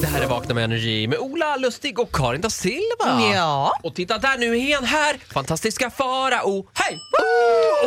Det här är Vakna med Energy med Ola Lustig och Karin da Silva. Ja. Och titta där, nu är han här! Fantastiska Farao. Hej!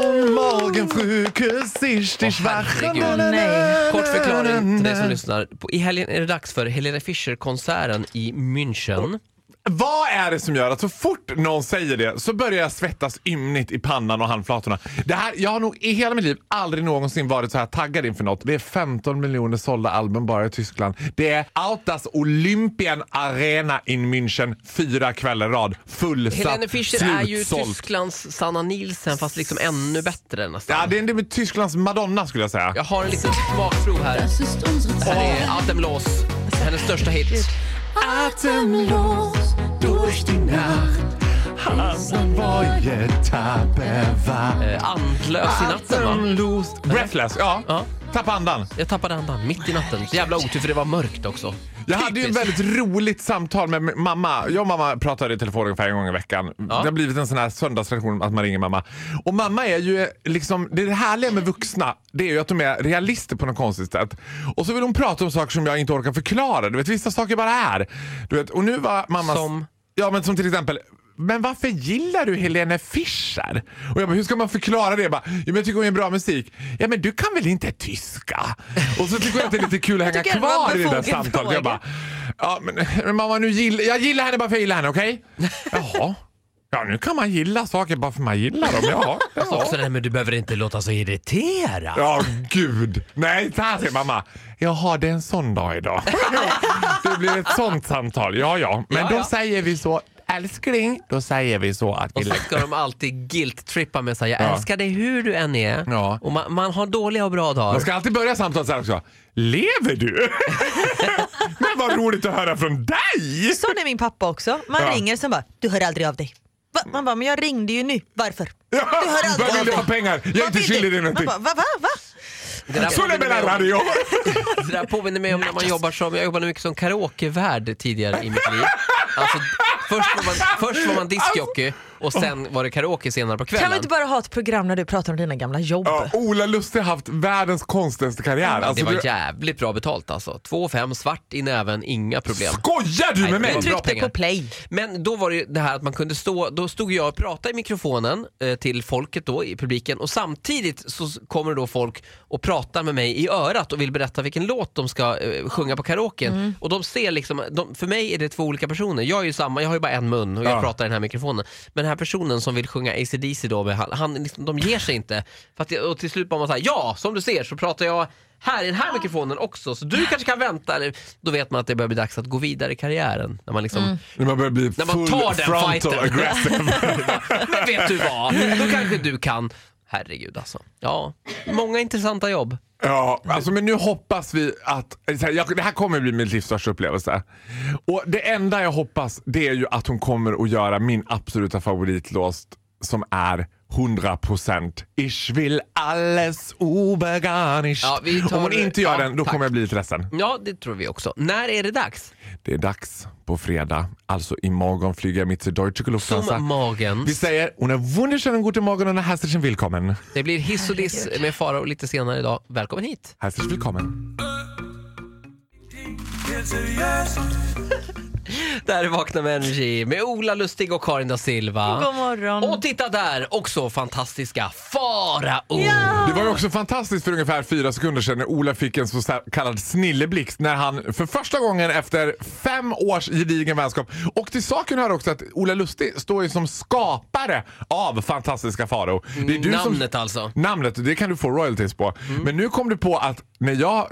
Und morgen früh küss ich dich Åh, wach. herregud. Na, na, na, Nej. Kort förklaring till dig som na. lyssnar. På- I helgen är det dags för Helena Fischer-konserten i München. Vad är det som gör att så fort någon säger det så börjar jag svettas ymnigt i pannan och handflatorna? Det här, jag har nog i hela mitt liv aldrig någonsin varit så här taggad inför något. Det är 15 miljoner sålda album bara i Tyskland. Det är Autas Olympien Arena in München fyra kvällar i rad. Fullsatt, Helene Fischer är ju slutsålt. Tysklands Sanna Nielsen fast liksom ännu bättre nästan. Ja, det är, det är Tysklands Madonna skulle jag säga. Jag har en liten smakprov här. Här är Atemlos, hennes största hit. atemlos durch die Nacht. Hassen varje tabbe var. Eh, Andlös i natten va? Atemlos. Breathless, ja. Ja. Tappa andan. Jag tappade andan mitt i natten. Jävla otur för det var mörkt också. Jag hade ju ett Typiskt. väldigt roligt samtal med min mamma. Jag och mamma pratar i telefon ungefär en gång i veckan. Det har blivit en sån här söndagstradition att man ringer mamma. Och mamma är ju liksom, det härliga med vuxna det är ju att de är realister på något konstigt sätt. Och så vill hon prata om saker som jag inte orkar förklara. Du vet vissa saker bara är. Du vet, och nu var mamma... Som? Ja men som till exempel men varför gillar du Helene Fischer? Och jag bara, hur ska man förklara det? Jag, bara, "Jo, men jag tycker hon gör bra musik. Ja men du kan väl inte tyska? Och så tycker jag att det är lite kul att hänga tycker det var kvar i det där befogad samtalet. fråga. Jag bara, ja, men, men mamma, nu gillar, jag gillar henne bara för jag gillar henne, okej? Jaha. Ja, nu kan man gilla saker bara för man gillar dem. Ja, ja. Också det här med du behöver inte låta så irriterad. Ja, gud. Nej, så här säger mamma. Jaha, det är en sån dag idag. Det blir ett sånt samtal. Ja, ja. Men Ja, då ja. säger vi så, älskling, då säger vi så att vi Och så lägger... ska de alltid guilt-trippa med såhär, jag Ja. älskar dig hur du än är. Ja. Och man, man har dåliga och bra dagar. Man ska alltid börja samtalet så här också. Lever du? Men vad roligt att höra från dig! Sån är min pappa också. Man Ja. ringer sen bara, du hör aldrig av dig. Va? Man bara, men jag ringde ju nu, varför? Ja, Du hör vad aldrig vill av du dig. ha pengar? Jag är Vad inte vill skyldig dig Man någonting. bara, Va, va, va? Det där Sulle påminner mig om- Bellaradio! Det där påminner mig om när man jobbar som, jag jobbade mycket som karaokevärd tidigare i mitt liv. Alltså, först, var man, först var man diskjockey och sen var det karaoke senare på Kan kvällen. vi inte bara ha ett program när du pratar om dina gamla jobb? Ja, Ola Lustig har haft världens konstigaste karriär. det Alltså, var du- jävligt bra betalt alltså. 2,5 svart i näven, inga problem. Skojar du Nej, med det mig? var Du bra tryckte pengar. på play. Men då var det ju det här att man kunde stå, då stod jag och pratade i mikrofonen eh, till folket då i publiken och samtidigt så s- kommer då folk och pratar med mig i örat och vill berätta vilken låt de ska eh, sjunga på karaoken. Och de ser liksom, de, för mig är det två olika personer. Jag är ju samma, jag har ju bara en mun och jag Ja. pratar i den här mikrofonen. Men den här personen som vill sjunga ACDC då, med, han, han, liksom, de ger sig inte. För att, det- och till slut bara man såhär, ja som du ser så pratar jag här i den här mikrofonen också, så du kanske kan vänta. Eller, Då vet man att det börjar bli dags att gå vidare i karriären. När man liksom När man börjar bli När full man tar den frontal fighten. aggressive. Men vet du vad, då kanske du kan. Herregud alltså. Ja, många intressanta jobb. ja, alltså, men nu hoppas vi att... Så här, jag, det här kommer bli min livs största upplevelse. Och det enda jag hoppas det är ju att hon kommer att göra min absoluta favoritlåt som är 100% Ich will alles obegarnischt. Ja, vi tar- Om hon inte gör ja, den, då tack. kommer jag bli lite ledsen. Ja, det tror vi också. När är det dags? Det är dags på fredag. Alltså imorgon flyger jag mitt till Deutsche Lufthansa. Som magen. Vi säger una wunderschönen guten Morgen und herzlichen willkommen. Det blir hiss och diss med Farao lite senare idag. Välkommen hit. Herzlich willkommen. Där är Vakna med Energy med Ola Lustig och Karin da Silva. God morgon. Och titta där, också fantastiska Farao. Det var ju också fantastiskt för ungefär fyra sekunder sedan när Ola fick en så kallad snilleblixt när han för första gången efter fem års gedigen vänskap och till saken hör också att Ola Lustig står ju som skapare av Fantastiska Faro. Det är du Namnet alltså. Mm. Namnet, det kan du få royalties på. Men nu kom du på att när jag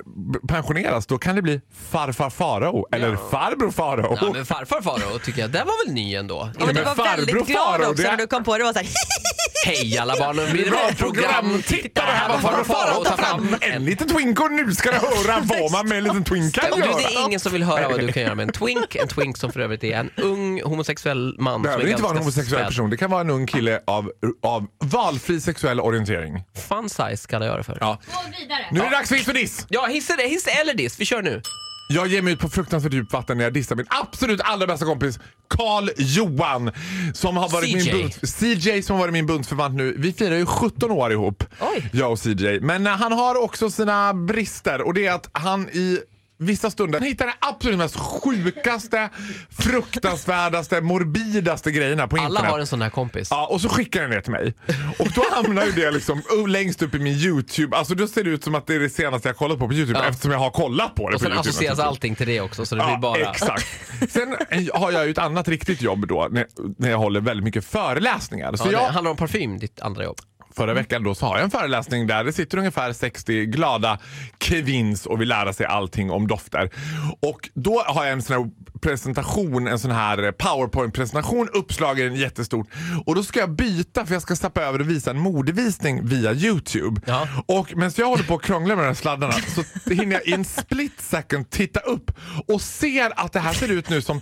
pensioneras då kan det bli farfar Farao eller farbror Farao. Ja, men farfar Farao tycker jag, den var väl ny ändå? Ja, men du men var väldigt farbror glad Faro, också det är- när du kom på det. var så här, Hej alla barnen, blir det bra program? Titta, det här var farbror Farao ta fram en liten twink och nu ska du höra vad man med en liten twink kan Du, det göra. är ingen som vill höra vad du kan göra med en twink. En twink som för övrigt är en ung homosexuell man. Det som behöver inte vara en ganska homosexuell späd. person. Det kan vara en ung kille av, av valfri sexuell orientering. Fun size kallar jag det för. Ja, Ja. Nu är det dags för hiss och diss. hiss, eller, hiss eller diss. Vi kör nu. Jag ger mig ut på fruktansvärt djupt vatten när jag dissar min absolut allra bästa kompis Carl Johan. Som har varit CJ. min bunt, CJ som har varit min bundsförvant nu. Vi firar ju 17 år ihop, Oj. jag och CJ. Men eh, han har också sina brister och det är att han i vissa stunder hittar den absolut mest sjukaste, fruktansvärdaste, morbidaste grejerna på Alla internet. har en sån här kompis. Ja, och så skickar den det till mig. Och då hamnar ju det liksom oh, längst upp i min YouTube. Alltså då ser det ut som att det är det senaste jag kollat på på YouTube Ja. eftersom jag har kollat på det Och på sen YouTube. associeras naturligtvis. allting till det också så det blir bara... Exakt. Sen har jag ju ett annat riktigt jobb då när, när jag håller väldigt mycket föreläsningar. Ja, Så Det jag, handlar om parfym, ditt andra jobb. förra veckan då så har jag en föreläsning där det sitter ungefär 60 glada kevins och vill lära sig allting om dofter. Och då har jag en sån här presentation, en sån här powerpoint-presentation uppslagen jättestort. Och då ska jag byta för jag ska stappa över och visa en modevisning via Youtube. Ja. Och medan jag håller på och krånglar med de här sladdarna så hinner jag i en split second titta upp och ser att det här ser ut nu som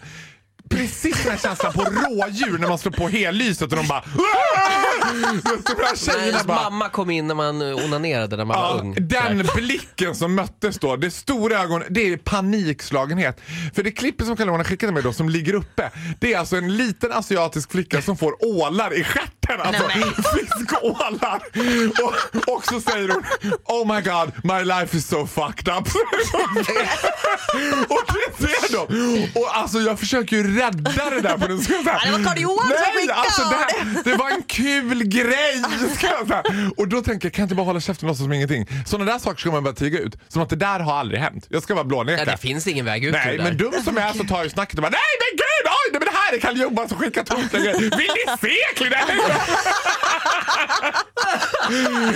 Precis den här känslan på rådjur när man slår på hellyset och de bara... De här När tjejerna ens bara... mamma kom in när man eh, onanerade när man var Ja, ung. den blicken som möttes då, det stora ögonen, det är panikslagenhet. För det klippet som Carl-Johan har skickat till mig då som ligger uppe, det är alltså en liten asiatisk flicka som får ålar i stjärten. Alltså Nej, fiskålar. Och, och så säger hon Oh my god, my life is so fucked up. och det ser de. Och alltså jag försöker ju rädda det där. På den, ska jag säga. Ja, det var Carl Johan som Nej, skickade alltså det, här, det var en kul grej. Ska jag säga. Och då tänker jag, kan jag inte bara hålla käften och låtsas som ingenting? Sådana där saker ska man bara tiga ut. Som att det där har aldrig hänt. Jag ska bara blåneka. Ja, det finns ingen väg ut ur Nej, det men där. dum som jag är så tar jag snacket och bara nej men gud, oj, nej, men det här är Kalle Johan som skickar tokiga grejer. Vill ni se Klinell?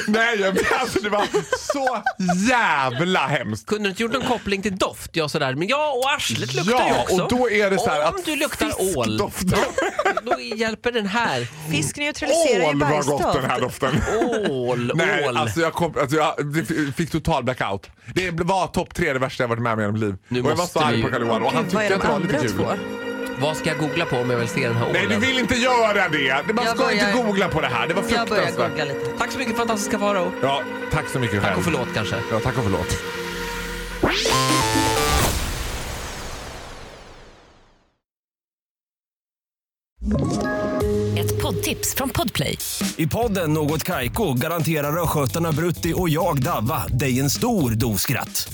nej, jag, men alltså det var så jävla hemskt. Kunde du inte gjort någon koppling till doft? Ja, sådär. Men ja, och arslet luktar ju Ja, också. och då är det så här Om att du luktar ål, fiskdoften- då hjälper den här. Fisk neutraliserar ju Ål vad gott den här bajsdoft. doften. Ål, Nej, ål. alltså jag, kom, alltså jag det f- fick total blackout. Det var topp tre det värsta jag varit med om i hela mitt liv. Nu och jag var måste så arg vi- på Kalle Johan och han Gud, vad är tyckte de att det var lite andra kul. två? Vad ska jag googla på om jag vill se den här ålen? Nej, du vill inte göra det! Man Jag ska inte börjar- googla på det här. Det var Jag börjar googla fruktansvärt. lite. Tack så mycket fantastiska Farao. Ja, tack så mycket Tack själv. och förlåt kanske. Ja, tack och förlåt. Ett poddtips från Podplay. I podden Något Kaiko garanterar östgötarna Brutti och jag, Davva, dig en stor dos skratt.